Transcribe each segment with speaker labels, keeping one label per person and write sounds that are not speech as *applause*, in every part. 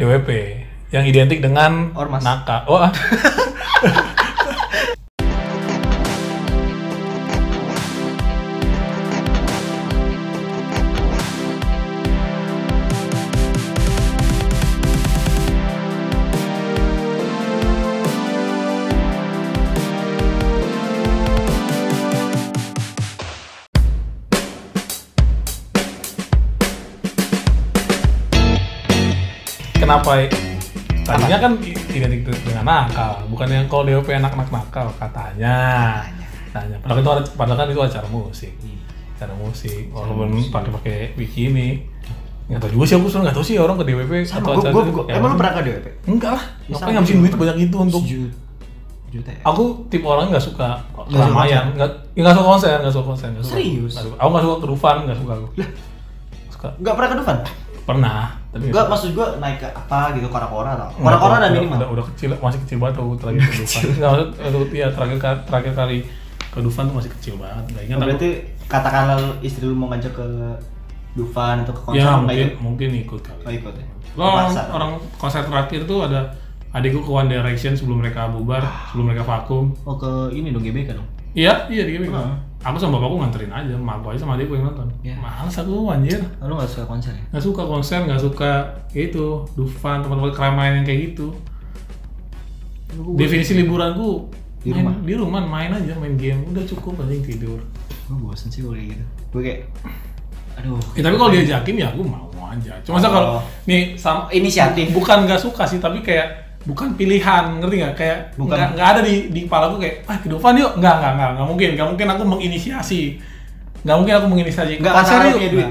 Speaker 1: DWP yang identik dengan
Speaker 2: Ormas.
Speaker 1: Naka. Oh, ah. kenapa? Tadinya kan i- identik tu- dengan nakal, bukan yang kalau DWP anak-anak nakal katanya. Katanya. Padahal itu ada- padahal kan itu acara musik. Acara musik. Walaupun pakai-pakai bikini. Nggak tahu juga sih aku sebenarnya nggak tahu sih orang ke DWP atau
Speaker 2: Sama, gua,
Speaker 1: acara
Speaker 2: gua,
Speaker 1: itu
Speaker 2: gua,
Speaker 1: kayak
Speaker 2: emang lu
Speaker 1: apa.
Speaker 2: pernah ke DWP?
Speaker 1: Enggak lah.
Speaker 2: Ya,
Speaker 1: Ngapain
Speaker 2: sama
Speaker 1: ngabisin
Speaker 2: Iya. gua
Speaker 1: duit
Speaker 2: juga
Speaker 1: banyak itu untuk
Speaker 2: Sejuta. Juta ya?
Speaker 1: aku tipe orang nggak suka
Speaker 2: Nggak suka
Speaker 1: keramaian nggak ya, nggak suka konser nggak suka konser nggak suka
Speaker 2: Serius?
Speaker 1: Nggak suka. aku nggak suka kerufan nggak suka aku suka
Speaker 2: Nggak pernah ke depan?
Speaker 1: pernah tapi nggak
Speaker 2: Nggak,
Speaker 1: suka.
Speaker 2: maksud gua naik ke apa gitu, kora-kora atau
Speaker 1: Nggak,
Speaker 2: Kora-kora ada
Speaker 1: udah-
Speaker 2: minimal?
Speaker 1: udah, udah kecil masih kecil banget aku
Speaker 2: *laughs*
Speaker 1: terakhir ke Dufan nggak maksud aduh, iya terakhir ka- terakhir kali ke Dufan tuh masih kecil banget nggak ingat
Speaker 2: Oh,
Speaker 1: aku
Speaker 2: berarti katakanlah istri lu mau ngajak ke Dufan atau ke konser
Speaker 1: ya
Speaker 2: nggak
Speaker 1: mungkin
Speaker 2: ikut?
Speaker 1: mungkin ikut kali
Speaker 2: Nggak ikut ya? Ke
Speaker 1: Lo orang,
Speaker 2: pasar.
Speaker 1: orang konser terakhir tuh ada adikku ke One Direction sebelum mereka bubar
Speaker 2: Ah.
Speaker 1: sebelum mereka vakum
Speaker 2: Oh ke ini dong GBK dong?
Speaker 1: Iya, iya di Kemik.
Speaker 2: Kenapa?
Speaker 1: Aku sama bapakku nganterin aja, sama aku aja sama adikku yang nonton.
Speaker 2: Iya.
Speaker 1: Males aku anjir.
Speaker 2: Oh, lu nggak suka konser ya?
Speaker 1: Nggak suka konser, nggak suka ya itu, Dufan, teman-teman keramaian yang kayak gitu. Definisi liburanku
Speaker 2: Di
Speaker 1: main-
Speaker 2: rumah.
Speaker 1: di rumah main aja, main game, udah cukup anjing tidur.
Speaker 2: Gue bosen sih gue kayak gitu Gue kayak Aduh
Speaker 1: Ya, tapi kalau diajakin ya aku mau aja. Cuma saya kalau
Speaker 2: Oh.
Speaker 1: nih sama
Speaker 2: Inisiatif
Speaker 1: bukan nggak suka sih, tapi kayak bukan pilihan, ngerti nggak? Kayak
Speaker 2: Bukan.
Speaker 1: nggak nggak ada di di kepala aku kayak ah ke Dufan yuk, nggak nggak nggak nggak mungkin, nggak mungkin aku menginisiasi, nggak mungkin aku menginisiasi.
Speaker 2: Nggak
Speaker 1: Konser
Speaker 2: katakanlah
Speaker 1: ylah
Speaker 2: punya duit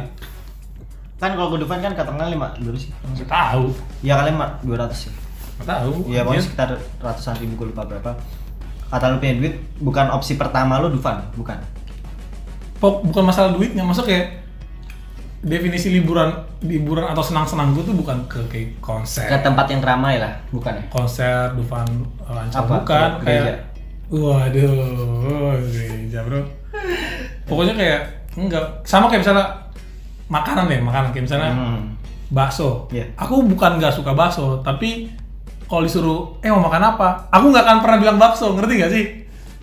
Speaker 2: Kan kalau ke Dufan kan katakanlah lima Berapa sih?
Speaker 1: Nggak tahu,
Speaker 2: Ya kalian mah 200 ya
Speaker 1: nggak tahu.
Speaker 2: Iya
Speaker 1: anjir.
Speaker 2: pokoknya sekitar ratusan ribu gue lupa berapa Kata lu punya duit Bukan opsi pertama lu Dufan Bukan
Speaker 1: Pok- bukan masalah duitnya, maksud kayak definisi liburan liburan atau senang-senang gue tuh bukan ke, ke konser.
Speaker 2: Ke tempat yang ramai lah Bukan ya?
Speaker 1: konser Dufan Lancar
Speaker 2: Apa?
Speaker 1: bukan
Speaker 2: Gereja?
Speaker 1: kayak waduh oh, gereja bro pokoknya kayak enggak sama kayak misalnya makanan ya makanan kayak misalnya
Speaker 2: Hmm.
Speaker 1: bakso
Speaker 2: Iya.
Speaker 1: aku bukan nggak suka bakso tapi kalau disuruh eh mau makan apa aku nggak akan pernah bilang bakso ngerti gak sih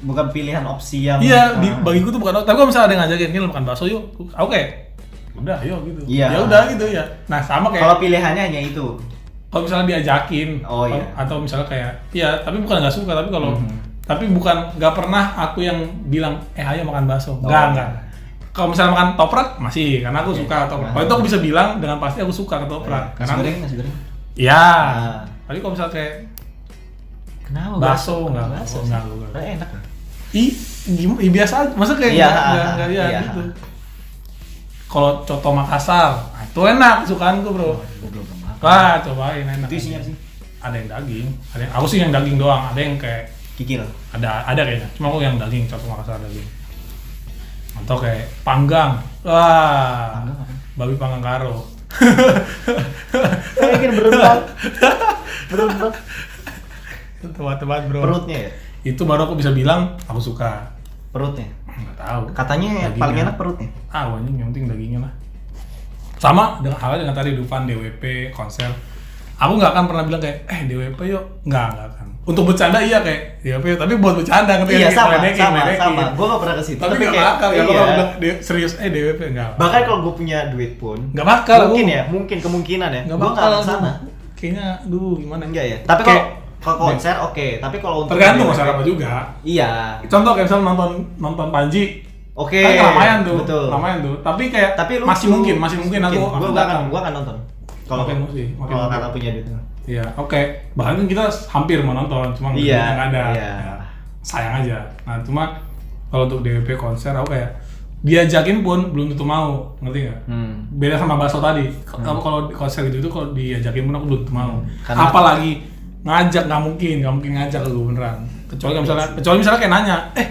Speaker 2: Bukan pilihan opsi yang
Speaker 1: iya di,
Speaker 2: Ah.
Speaker 1: bagiku tuh bukan tapi kalau misalnya ada yang ngajakin "Ini lo makan bakso yuk aku kayak udah ayo gitu
Speaker 2: Iya.
Speaker 1: ya udah gitu ya nah sama kayak
Speaker 2: Kalau pilihannya hanya itu
Speaker 1: kalau misalnya diajakin
Speaker 2: Oh, iya.
Speaker 1: atau misalnya kayak ya tapi bukan nggak suka tapi kalau
Speaker 2: Mhm.
Speaker 1: tapi bukan nggak pernah aku yang bilang eh ayo makan bakso
Speaker 2: Oh.
Speaker 1: nggak nggak kalau misalnya makan toprak masih karena aku
Speaker 2: Iya.
Speaker 1: suka toprak
Speaker 2: Nah.
Speaker 1: kalau itu aku bisa bilang dengan pasti aku suka ke toprak
Speaker 2: Nasi
Speaker 1: karena aku-
Speaker 2: goreng, nasi goreng
Speaker 1: ya
Speaker 2: Nah.
Speaker 1: tapi kalau misalnya kayak
Speaker 2: Kenapa?
Speaker 1: Bakso, enggak,
Speaker 2: Bakso
Speaker 1: enggak,
Speaker 2: sih.
Speaker 1: enggak, enggak.
Speaker 2: Nah, Enak
Speaker 1: i gimana i, biasa aja masa kayak
Speaker 2: Iya,
Speaker 1: nggak nggak- nggak ya
Speaker 2: iya.
Speaker 1: gitu kalau coto Makassar nah, itu enak kesukaanku bro
Speaker 2: Gue belum belum makan.
Speaker 1: wah cobain enak
Speaker 2: Itu isinya apa sih?
Speaker 1: ada yang daging ada yang aku sih yang daging doang ada yang kayak
Speaker 2: Kikil.
Speaker 1: ada ada kayaknya cuma aku yang daging coto Makassar daging atau kayak panggang wah
Speaker 2: Panggang apa?
Speaker 1: babi panggang karo
Speaker 2: Saya *laughs* ingin berenang.
Speaker 1: *laughs*
Speaker 2: berenang.
Speaker 1: itu tebat-tebat bro
Speaker 2: Perutnya ya?
Speaker 1: itu baru aku bisa bilang aku suka
Speaker 2: Perutnya.
Speaker 1: nggak tahu
Speaker 2: Katanya
Speaker 1: Dagingnya.
Speaker 2: paling enak perutnya.
Speaker 1: ah anjing yang penting dagingnya lah sama dengan halnya dengan tadi Dufan DWP konser aku nggak akan pernah bilang kayak eh DWP yuk nggak nggak akan untuk bercanda iya kayak DWP yuk. tapi buat bercanda ngerti
Speaker 2: Iya
Speaker 1: nggak?
Speaker 2: sama,
Speaker 1: Meledekin,
Speaker 2: sama,
Speaker 1: meledekin.
Speaker 2: sama. Gue gak pernah ke situ.
Speaker 1: tapi nggak
Speaker 2: kayak-
Speaker 1: bakal ya kalau
Speaker 2: iya.
Speaker 1: bilang "Dia- serius eh DWP nggak
Speaker 2: Bahkan kalau gue punya duit pun,
Speaker 1: nggak bakal
Speaker 2: mungkin
Speaker 1: aku.
Speaker 2: ya, mungkin kemungkinan ya.
Speaker 1: nggak
Speaker 2: Gue
Speaker 1: bakal
Speaker 2: gak ke
Speaker 1: aku.
Speaker 2: sana.
Speaker 1: kayaknya aduh gimana
Speaker 2: Enggak ya. Tapi kalau
Speaker 1: Kayak-
Speaker 2: kalau konser oke, tapi kalau untuk
Speaker 1: tergantung
Speaker 2: DWP,
Speaker 1: konser apa juga
Speaker 2: Iya.
Speaker 1: contoh kayak misalnya nonton nonton Panji
Speaker 2: Oke.
Speaker 1: kan keramaian tuh
Speaker 2: Betul.
Speaker 1: keramaian tuh tapi kayak
Speaker 2: Tapi lu
Speaker 1: masih mungkin masih mungkin, aku aku
Speaker 2: gue
Speaker 1: datang.
Speaker 2: akan gue akan nonton. Kalau
Speaker 1: Makin musik, makin
Speaker 2: kalau
Speaker 1: musik.
Speaker 2: kata punya duit.
Speaker 1: Iya, oke. Bahkan kan kita hampir mau nonton, cuma nggak
Speaker 2: Iya,
Speaker 1: nggak ada.
Speaker 2: iya.
Speaker 1: Ya, sayang aja. Nah, cuma kalau untuk DWP konser aku kayak diajakin pun belum tentu mau, ngerti nggak?
Speaker 2: Hmm.
Speaker 1: Beda sama bakso tadi. Aku kalau di konser gitu itu kalau diajakin pun aku belum tentu mau.
Speaker 2: Hmm. Karena-
Speaker 1: Apalagi ngajak nggak mungkin, nggak mungkin ngajak aku beneran. Kecuali kalau misalnya, kecuali misalnya kayak nanya, eh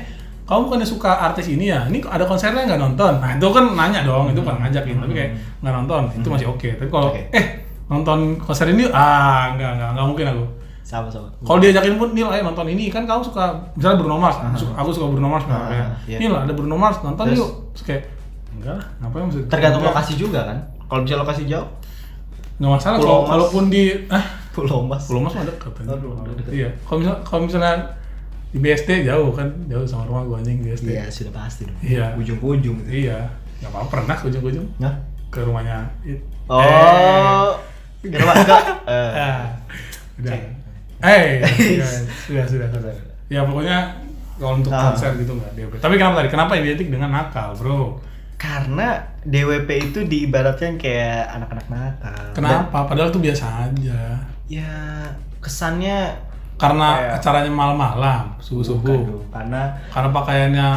Speaker 1: kamu bukannya suka artis ini ya? Ini ada konsernya nggak nonton? Nah itu kan nanya dong, itu bukan ngajakin, tapi kayak nggak nonton, itu masih oke. Tapi kalau
Speaker 2: Hmm. Oke.
Speaker 1: eh nonton konser ini yuk." ah nggak nggak nggak mungkin aku.
Speaker 2: Sama sama.
Speaker 1: Kalau diajakin pun Nil ayo nonton ini kan kamu suka misalnya Bruno Mars, suka- aku suka Bruno Mars
Speaker 2: Ah,
Speaker 1: misalnya.
Speaker 2: iya.
Speaker 1: Nil ada Bruno Mars nonton
Speaker 2: Terus?
Speaker 1: yuk. Terus kayak enggak lah, ngapain maksudnya?
Speaker 2: tergantung
Speaker 1: Enggak.
Speaker 2: lokasi juga kan kalau bisa lokasi jauh *laughs*
Speaker 1: nggak masalah
Speaker 2: Pulau
Speaker 1: kalau
Speaker 2: Mas.
Speaker 1: walaupun di ah
Speaker 2: Pulau Mas.
Speaker 1: Pulau Mas mah dekat kan.
Speaker 2: Aduh, udah dekat.
Speaker 1: Iya. Kalau misal kalau misalnya di BSD jauh kan, jauh sama rumah gua anjing BSD.
Speaker 2: Iya, sudah pasti dong.
Speaker 1: Iya.
Speaker 2: Ujung-ujung gitu.
Speaker 1: Iya. Nggak apa-apa pernah ke ujung-ujung
Speaker 2: Nah.
Speaker 1: ke rumahnya. It.
Speaker 2: Oh. Gerwak enggak? Eh.
Speaker 1: *laughs* Eh. Ah. Udah.
Speaker 2: *laughs*
Speaker 1: Eh, iya, sudah, sudah, sudah. Ya pokoknya kalau untuk
Speaker 2: Ah.
Speaker 1: konser gitu nggak DP. Tapi kenapa tadi? Kenapa identik dengan nakal, bro?
Speaker 2: Karena DWP itu diibaratkan kayak anak-anak nakal.
Speaker 1: Kenapa? Padahal tuh biasa aja.
Speaker 2: Dan- Ya kesannya
Speaker 1: Karena
Speaker 2: Kayak-
Speaker 1: acaranya malam-malam, subuh-subuh.
Speaker 2: Iya. Bukan, karena
Speaker 1: karena pakaiannya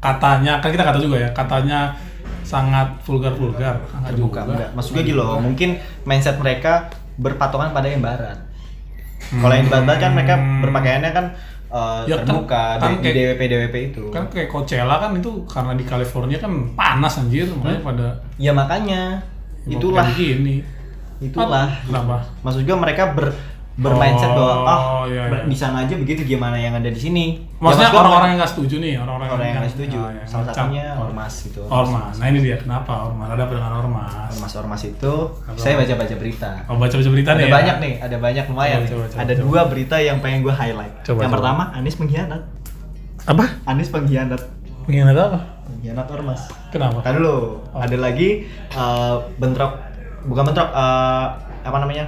Speaker 1: katanya kan kita kata juga ya katanya sangat vulgar vulgar
Speaker 2: terbuka enggak. Maksudnya gitu loh, mungkin mindset mereka berpatokan pada yang barat. Kalau yang di
Speaker 1: Hmm.
Speaker 2: barat kan mereka berpakaiannya kan eh,
Speaker 1: Ya, kan-
Speaker 2: terbuka
Speaker 1: kan
Speaker 2: di,
Speaker 1: kayak-
Speaker 2: DWP DWP itu.
Speaker 1: kan kayak Coachella kan itu karena di California kan panas anjir makanya pada
Speaker 2: Ya makanya
Speaker 1: ya,
Speaker 2: itulah
Speaker 1: kayak gini
Speaker 2: itulah. Ya,
Speaker 1: Ah, kenapa
Speaker 2: Maksud gue mereka ber bermindset bahwa ah
Speaker 1: Oh, iya, iya.
Speaker 2: di sana aja begitu gimana yang ada di sini. Ya,
Speaker 1: maksudnya
Speaker 2: maksud gua
Speaker 1: orang-orang yang nggak setuju nih orang-orang
Speaker 2: orang yang nggak setuju
Speaker 1: ya,
Speaker 2: salah
Speaker 1: ngecap.
Speaker 2: satunya ormas gitu
Speaker 1: ormas nah ini dia kenapa ormas ada apa dengan ormas
Speaker 2: ormas ormas itu saya baca baca berita
Speaker 1: oh baca baca berita
Speaker 2: ada
Speaker 1: nih
Speaker 2: banyak
Speaker 1: ya.
Speaker 2: nih ada banyak lumayan
Speaker 1: Coba,
Speaker 2: nih.
Speaker 1: coba, coba,
Speaker 2: ada
Speaker 1: coba.
Speaker 2: dua berita yang pengen gue highlight
Speaker 1: Coba,
Speaker 2: yang
Speaker 1: coba.
Speaker 2: pertama Anies pengkhianat
Speaker 1: apa
Speaker 2: Anies pengkhianat
Speaker 1: pengkhianat apa
Speaker 2: pengkhianat ormas
Speaker 1: kenapa
Speaker 2: kan dulu
Speaker 1: Oh.
Speaker 2: ada lagi eh, bentrok bukan bentrok eh, apa namanya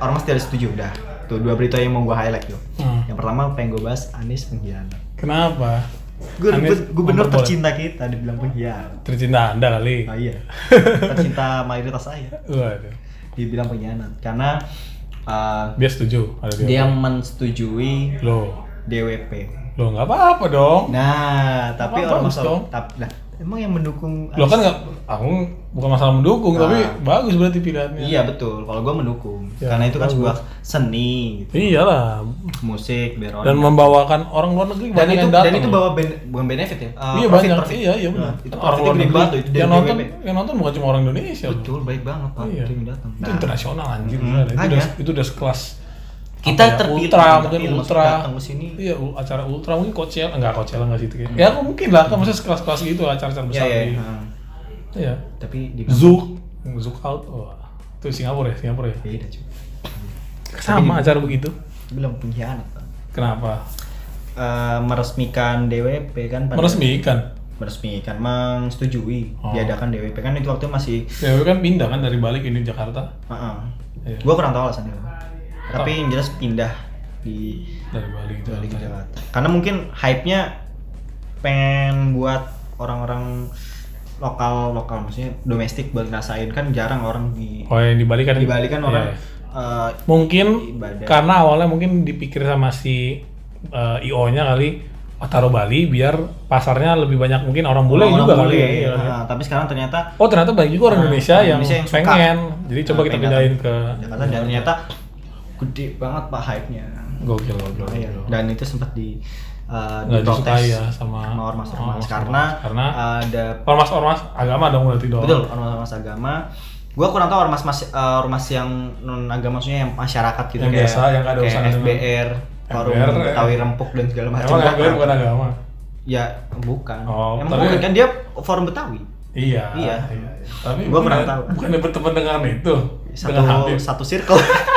Speaker 2: ormas tidak setuju udah tuh dua berita yang mau gue highlight tuh
Speaker 1: Hmm.
Speaker 2: yang pertama pengen gue bahas Anies pengkhianat
Speaker 1: kenapa
Speaker 2: gue
Speaker 1: Anies
Speaker 2: gubernur
Speaker 1: memperboleh-
Speaker 2: tercinta kita dibilang pengkhianat
Speaker 1: tercinta anda kali
Speaker 2: Ah
Speaker 1: *laughs*
Speaker 2: iya, tercinta mayoritas saya
Speaker 1: waduh
Speaker 2: dibilang pengkhianat karena uh,
Speaker 1: dia setuju ada dia
Speaker 2: dia mensetujui
Speaker 1: Loh,
Speaker 2: DWP.
Speaker 1: loh nggak apa-apa dong.
Speaker 2: Nah, tapi
Speaker 1: Emang
Speaker 2: orang
Speaker 1: bagus dong.
Speaker 2: tapi lah, emang yang mendukung
Speaker 1: Loh kan nggak,
Speaker 2: Anies-
Speaker 1: aku bukan masalah mendukung, tapi
Speaker 2: Ah.
Speaker 1: bagus berarti pilihannya.
Speaker 2: Iya betul, kalau gue mendukung
Speaker 1: Ya,
Speaker 2: karena itu kan
Speaker 1: bagus.
Speaker 2: sebuah seni, gitu.
Speaker 1: Iyalah,
Speaker 2: musik, beron.
Speaker 1: dan membawakan orang luar negeri
Speaker 2: Dan
Speaker 1: banyak
Speaker 2: itu
Speaker 1: yang
Speaker 2: dan
Speaker 1: datang.
Speaker 2: itu
Speaker 1: loh.
Speaker 2: bawa ben- bukan benefit ya? uh,
Speaker 1: iya
Speaker 2: profit,
Speaker 1: banyak,
Speaker 2: profit.
Speaker 1: iya iya benar.
Speaker 2: Nah, itu
Speaker 1: orang
Speaker 2: profitnya
Speaker 1: luar
Speaker 2: gede
Speaker 1: negeri
Speaker 2: banget tuh, itu dari
Speaker 1: yang nonton,
Speaker 2: DWP.
Speaker 1: yang nonton bukan cuma orang Indonesia. loh.
Speaker 2: Betul, baik banget pak,
Speaker 1: Iya.
Speaker 2: itu yang datang.
Speaker 1: Itu
Speaker 2: Nah,
Speaker 1: internasional anjir,
Speaker 2: Mm-mm.
Speaker 1: beneran. itu udah
Speaker 2: Makanya.
Speaker 1: itu udah sekelas
Speaker 2: Kita
Speaker 1: apa ya,
Speaker 2: terpilih,
Speaker 1: ultra
Speaker 2: kita
Speaker 1: mungkin
Speaker 2: terpilih,
Speaker 1: ultra
Speaker 2: datang ke sini. Hmm.
Speaker 1: iya u- acara ultra mungkin Coachella enggak Coachella enggak gitu kayaknya ya aku mungkin lah kan maksudnya sekelas-kelas gitu acara-acara
Speaker 2: iya
Speaker 1: besar
Speaker 2: iya.
Speaker 1: di-
Speaker 2: nah,
Speaker 1: iya
Speaker 2: Tapi di
Speaker 1: Zouk, Zouk out. Wah, itu Singapura ya, Singapura ya.
Speaker 2: beda cuy.
Speaker 1: Sama acara begitu.
Speaker 2: bilang pengkhianat Pak.
Speaker 1: Kenapa?
Speaker 2: Eh, meresmikan DWP kan pada-
Speaker 1: Meresmikan.
Speaker 2: meresmikan mengsetujui
Speaker 1: Oh.
Speaker 2: diadakan DWP kan itu waktu masih
Speaker 1: Ya, gue kan pindah kan dari Bali ke ini Jakarta.
Speaker 2: Heeh.
Speaker 1: Iya.
Speaker 2: gua kurang tahu alasannya tapi yang jelas pindah di
Speaker 1: Dari Bali ke
Speaker 2: Bali ke
Speaker 1: Jakarta.
Speaker 2: Jakarta karena mungkin hype nya pengen buat orang-orang lokal lokal maksudnya domestik buat ngerasain kan jarang orang di
Speaker 1: Oh, yang di Bali kan
Speaker 2: di Bali kan
Speaker 1: Iya.
Speaker 2: orang eh,
Speaker 1: Mungkin
Speaker 2: Ibadah.
Speaker 1: karena awalnya mungkin dipikir sama si IO-nya kali oh, taruh Bali biar pasarnya lebih banyak mungkin orang bule
Speaker 2: orang-orang
Speaker 1: juga
Speaker 2: bule,
Speaker 1: kali. ya.
Speaker 2: iya.
Speaker 1: Iya.
Speaker 2: Nah, tapi sekarang ternyata
Speaker 1: Oh, ternyata banyak juga orang
Speaker 2: Orang
Speaker 1: Indonesia, yang,
Speaker 2: Indonesia yang suka.
Speaker 1: pengen. Jadi coba
Speaker 2: Nah,
Speaker 1: kita
Speaker 2: pengen
Speaker 1: pindahin ke
Speaker 2: Jakarta dan ternyata
Speaker 1: iya.
Speaker 2: gede banget pak hype-nya
Speaker 1: Gokil, gokil.
Speaker 2: Iya,
Speaker 1: gokil.
Speaker 2: dan itu sempat di uh,
Speaker 1: Nggak disukai
Speaker 2: diprotes
Speaker 1: ya sama-
Speaker 2: sama ormas-ormas
Speaker 1: ormas-ormas.
Speaker 2: karena
Speaker 1: Karena
Speaker 2: ada
Speaker 1: Ormas-ormas agama dong berarti dong.
Speaker 2: betul ormas-ormas agama gua kurang tahu ormas mas, uh, ormas yang non agama maksudnya yang masyarakat gitu
Speaker 1: Yang
Speaker 2: kayak
Speaker 1: biasa, yang nggak ada
Speaker 2: kayak
Speaker 1: urusan dengan-
Speaker 2: FBR forum
Speaker 1: FBR,
Speaker 2: Betawi
Speaker 1: eh.
Speaker 2: rempuk dan segala macam
Speaker 1: Emang
Speaker 2: Gua
Speaker 1: agama
Speaker 2: kurang
Speaker 1: bukan
Speaker 2: tahu.
Speaker 1: agama?
Speaker 2: ya bukan
Speaker 1: Oh,
Speaker 2: emang
Speaker 1: tapi-
Speaker 2: bukan kan dia forum Betawi
Speaker 1: Iya.
Speaker 2: Iya.
Speaker 1: Tapi
Speaker 2: Gua kurang
Speaker 1: bukan,
Speaker 2: tahu.
Speaker 1: bukan berteman dengan itu.
Speaker 2: satu
Speaker 1: dengan Habib.
Speaker 2: satu circle
Speaker 1: *laughs*
Speaker 2: *laughs*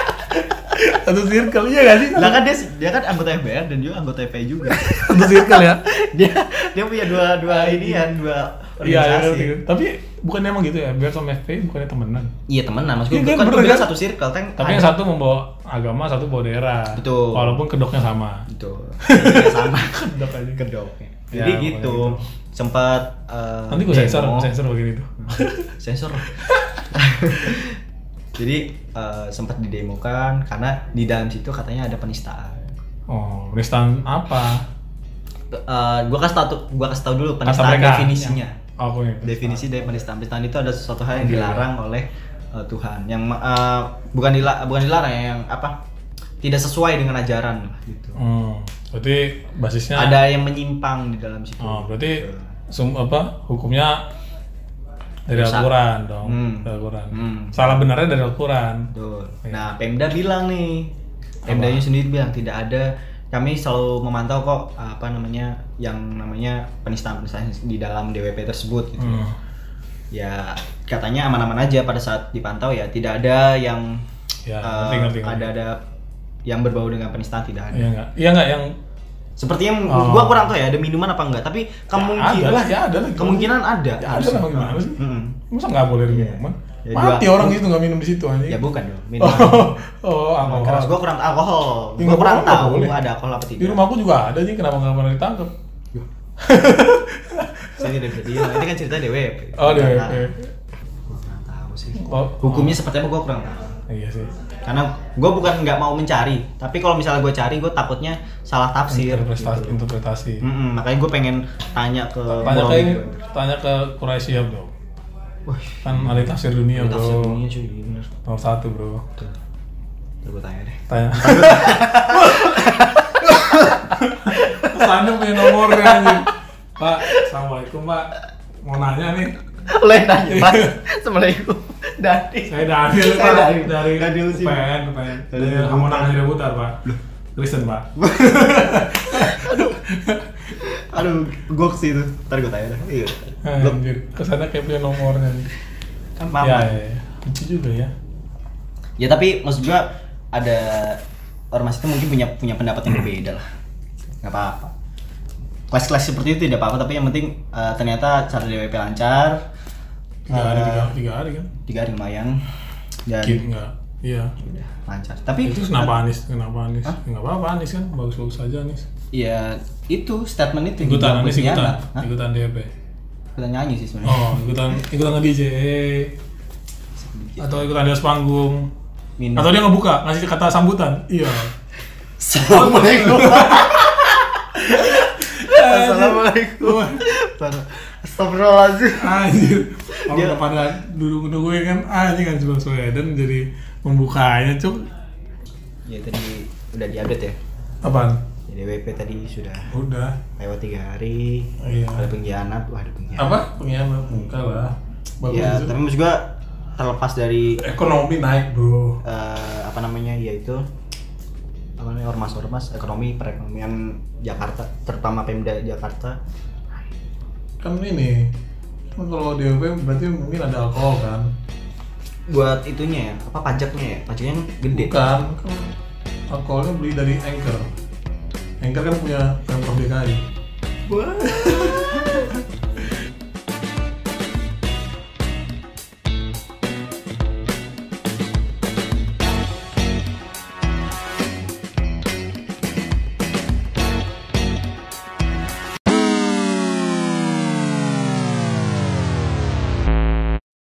Speaker 1: Satu circle iya gak sih?
Speaker 2: lah kan dia dia kan anggota FBR dan juga anggota FPI juga *laughs*
Speaker 1: Satu circle ya.
Speaker 2: dia dia punya dua dua inian dua
Speaker 1: Iya, iya,
Speaker 2: organisasi
Speaker 1: ngerti. Tapi bukan emang gitu ya, biar sama FPI bukannya temenan.
Speaker 2: Iya temenan, maksud gue
Speaker 1: Iya, kan,
Speaker 2: kan,
Speaker 1: bener
Speaker 2: gue bilang
Speaker 1: kan?
Speaker 2: satu circle, tank
Speaker 1: Tapi yang satu membawa agama, satu bawa daerah.
Speaker 2: Betul.
Speaker 1: Walaupun kedoknya sama.
Speaker 2: itu
Speaker 1: *laughs*
Speaker 2: Iya, sama
Speaker 1: Kedok aja.
Speaker 2: kedoknya.
Speaker 1: Ya,
Speaker 2: Jadi
Speaker 1: pokoknya
Speaker 2: gitu,
Speaker 1: gitu.
Speaker 2: sempat eh,
Speaker 1: Nanti gue
Speaker 2: demo.
Speaker 1: sensor, gua sensor bagian itu.
Speaker 2: sensor. *laughs* Jadi eh, sempat didemokan karena di dalam situ katanya ada penistaan.
Speaker 1: Oh, penistaan apa?
Speaker 2: Eh, gue kasih tau, gua kasih tau dulu
Speaker 1: Kata
Speaker 2: penistaan
Speaker 1: mereka.
Speaker 2: definisinya.
Speaker 1: Oh, aku yang
Speaker 2: Definisi dari penistaan. Penistaan itu ada sesuatu hal yang
Speaker 1: Oke.
Speaker 2: dilarang oleh eh, Tuhan, yang eh, bukan dila- bukan dilarang, ya, yang apa? Tidak sesuai dengan ajaran lah gitu.
Speaker 1: Hmm. Berarti basisnya
Speaker 2: ada yang menyimpang di dalam situ.
Speaker 1: Ya. Oh, berarti
Speaker 2: Iya.
Speaker 1: sum apa hukumnya dari Al-Quran dong.
Speaker 2: Hmm.
Speaker 1: Dari Al-Quran.
Speaker 2: Hmm.
Speaker 1: Salah benarnya dari Al-Quran.
Speaker 2: Betul.
Speaker 1: Iya.
Speaker 2: Nah, Pemda bilang nih, Pemdanya sendiri bilang tidak ada kami selalu memantau kok apa namanya Hmm. yang namanya penistaan-penistaan di dalam DWP tersebut gitu.
Speaker 1: Hmm.
Speaker 2: Ya katanya aman-aman aja pada saat dipantau ya tidak ada yang
Speaker 1: Ya,
Speaker 2: eh,
Speaker 1: ngerti, ngerti, ngerti.
Speaker 2: ada ada yang berbau dengan penistaan tidak ada.
Speaker 1: Iya nggak? Iya nggak yang
Speaker 2: Sepertinya
Speaker 1: Oh.
Speaker 2: gua kurang tahu ya ada minuman apa enggak, tapi kemungkinan
Speaker 1: ada lah, ya ada lah.
Speaker 2: kemungkinan ada.
Speaker 1: Ya ada lah gimana sih?
Speaker 2: Mm-mm.
Speaker 1: Masa nggak boleh minuman?
Speaker 2: Ya,
Speaker 1: Mati
Speaker 2: gua-
Speaker 1: orang itu nggak minum di situ anjing. *laughs*
Speaker 2: Ya bukan dong,
Speaker 1: oh,
Speaker 2: minuman.
Speaker 1: oh, alkohol.
Speaker 2: Karena gua kurang alkohol.
Speaker 1: Ya,
Speaker 2: Gua
Speaker 1: nggak
Speaker 2: kurang
Speaker 1: apa-apa,
Speaker 2: tahu
Speaker 1: boleh.
Speaker 2: ada alkohol apa
Speaker 1: Di
Speaker 2: tidak.
Speaker 1: rumahku juga ada anjing, kenapa nggak pernah ditangkap?
Speaker 2: Saya tidak bisa diam. Ini kan cerita DWP.
Speaker 1: *laughs* Oh,
Speaker 2: Gua
Speaker 1: deh. oke.
Speaker 2: kurang tahu. Gua kurang tahu sih.
Speaker 1: Oh,
Speaker 2: Hukumnya seperti apa gua kurang tahu.
Speaker 1: Iya sih.
Speaker 2: Karena gua bukan nggak mau mencari, tapi kalau misalnya gua cari, gua takutnya salah tafsir.
Speaker 1: Interpretasi,
Speaker 2: gitu.
Speaker 1: interpretasi.
Speaker 2: Mm-mm, makanya gue pengen tanya ke
Speaker 1: Tanya ke
Speaker 2: Borobudur.
Speaker 1: ini, tanya ke Quraisy ya, Bro.
Speaker 2: gitu. Wah,
Speaker 1: Kan ahli tafsir dunia,
Speaker 2: tafsir
Speaker 1: Bro.
Speaker 2: dunia cuy, iya bener.
Speaker 1: Nomor satu, Bro.
Speaker 2: Tuh. Ntar gue tanya
Speaker 1: *laughs*
Speaker 2: deh.
Speaker 1: Tanya. Kesannya punya nomornya anjing. Pak, Assalamualaikum, Pak. Mau nanya nih.
Speaker 2: Lo yang tanya, Pak. Assalamualaikum. *laughs* Dadi.
Speaker 1: Iya. Saya Daniel,
Speaker 2: Saya
Speaker 1: Pak.
Speaker 2: Daniel.
Speaker 1: Dari
Speaker 2: Daniel sini.
Speaker 1: UPN, UPN.
Speaker 2: Daniel
Speaker 1: Dari Hamonang Hirabutar, Pak. Kristen, Pak.
Speaker 2: Aduh, goks itu. Ntar gue tanya deh. Iya. Belum.
Speaker 1: Anjir, kesana kayak punya nomornya nih.
Speaker 2: Kan
Speaker 1: Ya,
Speaker 2: mama.
Speaker 1: ya,
Speaker 2: Ya,
Speaker 1: ya. Lucu juga ya.
Speaker 2: tapi maksud gue ada ormas itu mungkin punya punya pendapat yang berbeda lah. Gak apa-apa. Kelas-kelas seperti itu tidak apa-apa, tapi yang penting eh, ternyata cara DWP lancar.
Speaker 1: Tiga hari,
Speaker 2: Eh,
Speaker 1: tiga, tiga hari kan.
Speaker 2: tiga hari lumayan. Dan
Speaker 1: Gim enggak? Iya.
Speaker 2: udah lancar. Tapi
Speaker 1: Itu kenapa Anis? Kenapa Anis? Enggak apa-apa Anis kan, bagus-bagus aja Anis.
Speaker 2: Ya itu statement itu yang
Speaker 1: Ikutan
Speaker 2: dibilang
Speaker 1: Anis ikutan,
Speaker 2: Pontianak. Hah?
Speaker 1: ikutan DP.
Speaker 2: Ikutan nyanyi sih sebenarnya.
Speaker 1: Oh, ikutan ikutan nge-DJ atau ikutan di atas panggung.
Speaker 2: Minum.
Speaker 1: Atau dia ngebuka, ngasih kata sambutan. Iya.
Speaker 2: *laughs*
Speaker 1: *laughs*
Speaker 2: Assalamualaikum. Assalamualaikum.
Speaker 1: Wah,
Speaker 2: Astagfirullahaladzim.
Speaker 1: Anjir. Kalau
Speaker 2: Dia-
Speaker 1: pada dulu dulu gue kan anjing kan Bang Soedan jadi membukanya, Cuk.
Speaker 2: Ya tadi udah diupdate ya.
Speaker 1: Apaan?
Speaker 2: Jadi WP tadi sudah
Speaker 1: Udah.
Speaker 2: lewat tiga hari.
Speaker 1: Iya.
Speaker 2: Ada pengkhianat, wah ada pengkhianat.
Speaker 1: Apa? Pengkhianat muka lah. Bagus
Speaker 2: Ya,
Speaker 1: itu.
Speaker 2: tapi maksud gua terlepas dari
Speaker 1: Iya, Ekonomi naik, Bro.
Speaker 2: eh, apa namanya yaitu apa namanya ormas-ormas ekonomi perekonomian Jakarta terutama Pemda Jakarta
Speaker 1: kan ini kan kalau DOP berarti mungkin ada alkohol kan
Speaker 2: buat itunya ya apa pajaknya ya pajaknya kan gede
Speaker 1: bukan kan alkoholnya beli dari Anchor Anchor kan punya Pemprov DKI
Speaker 2: Wah.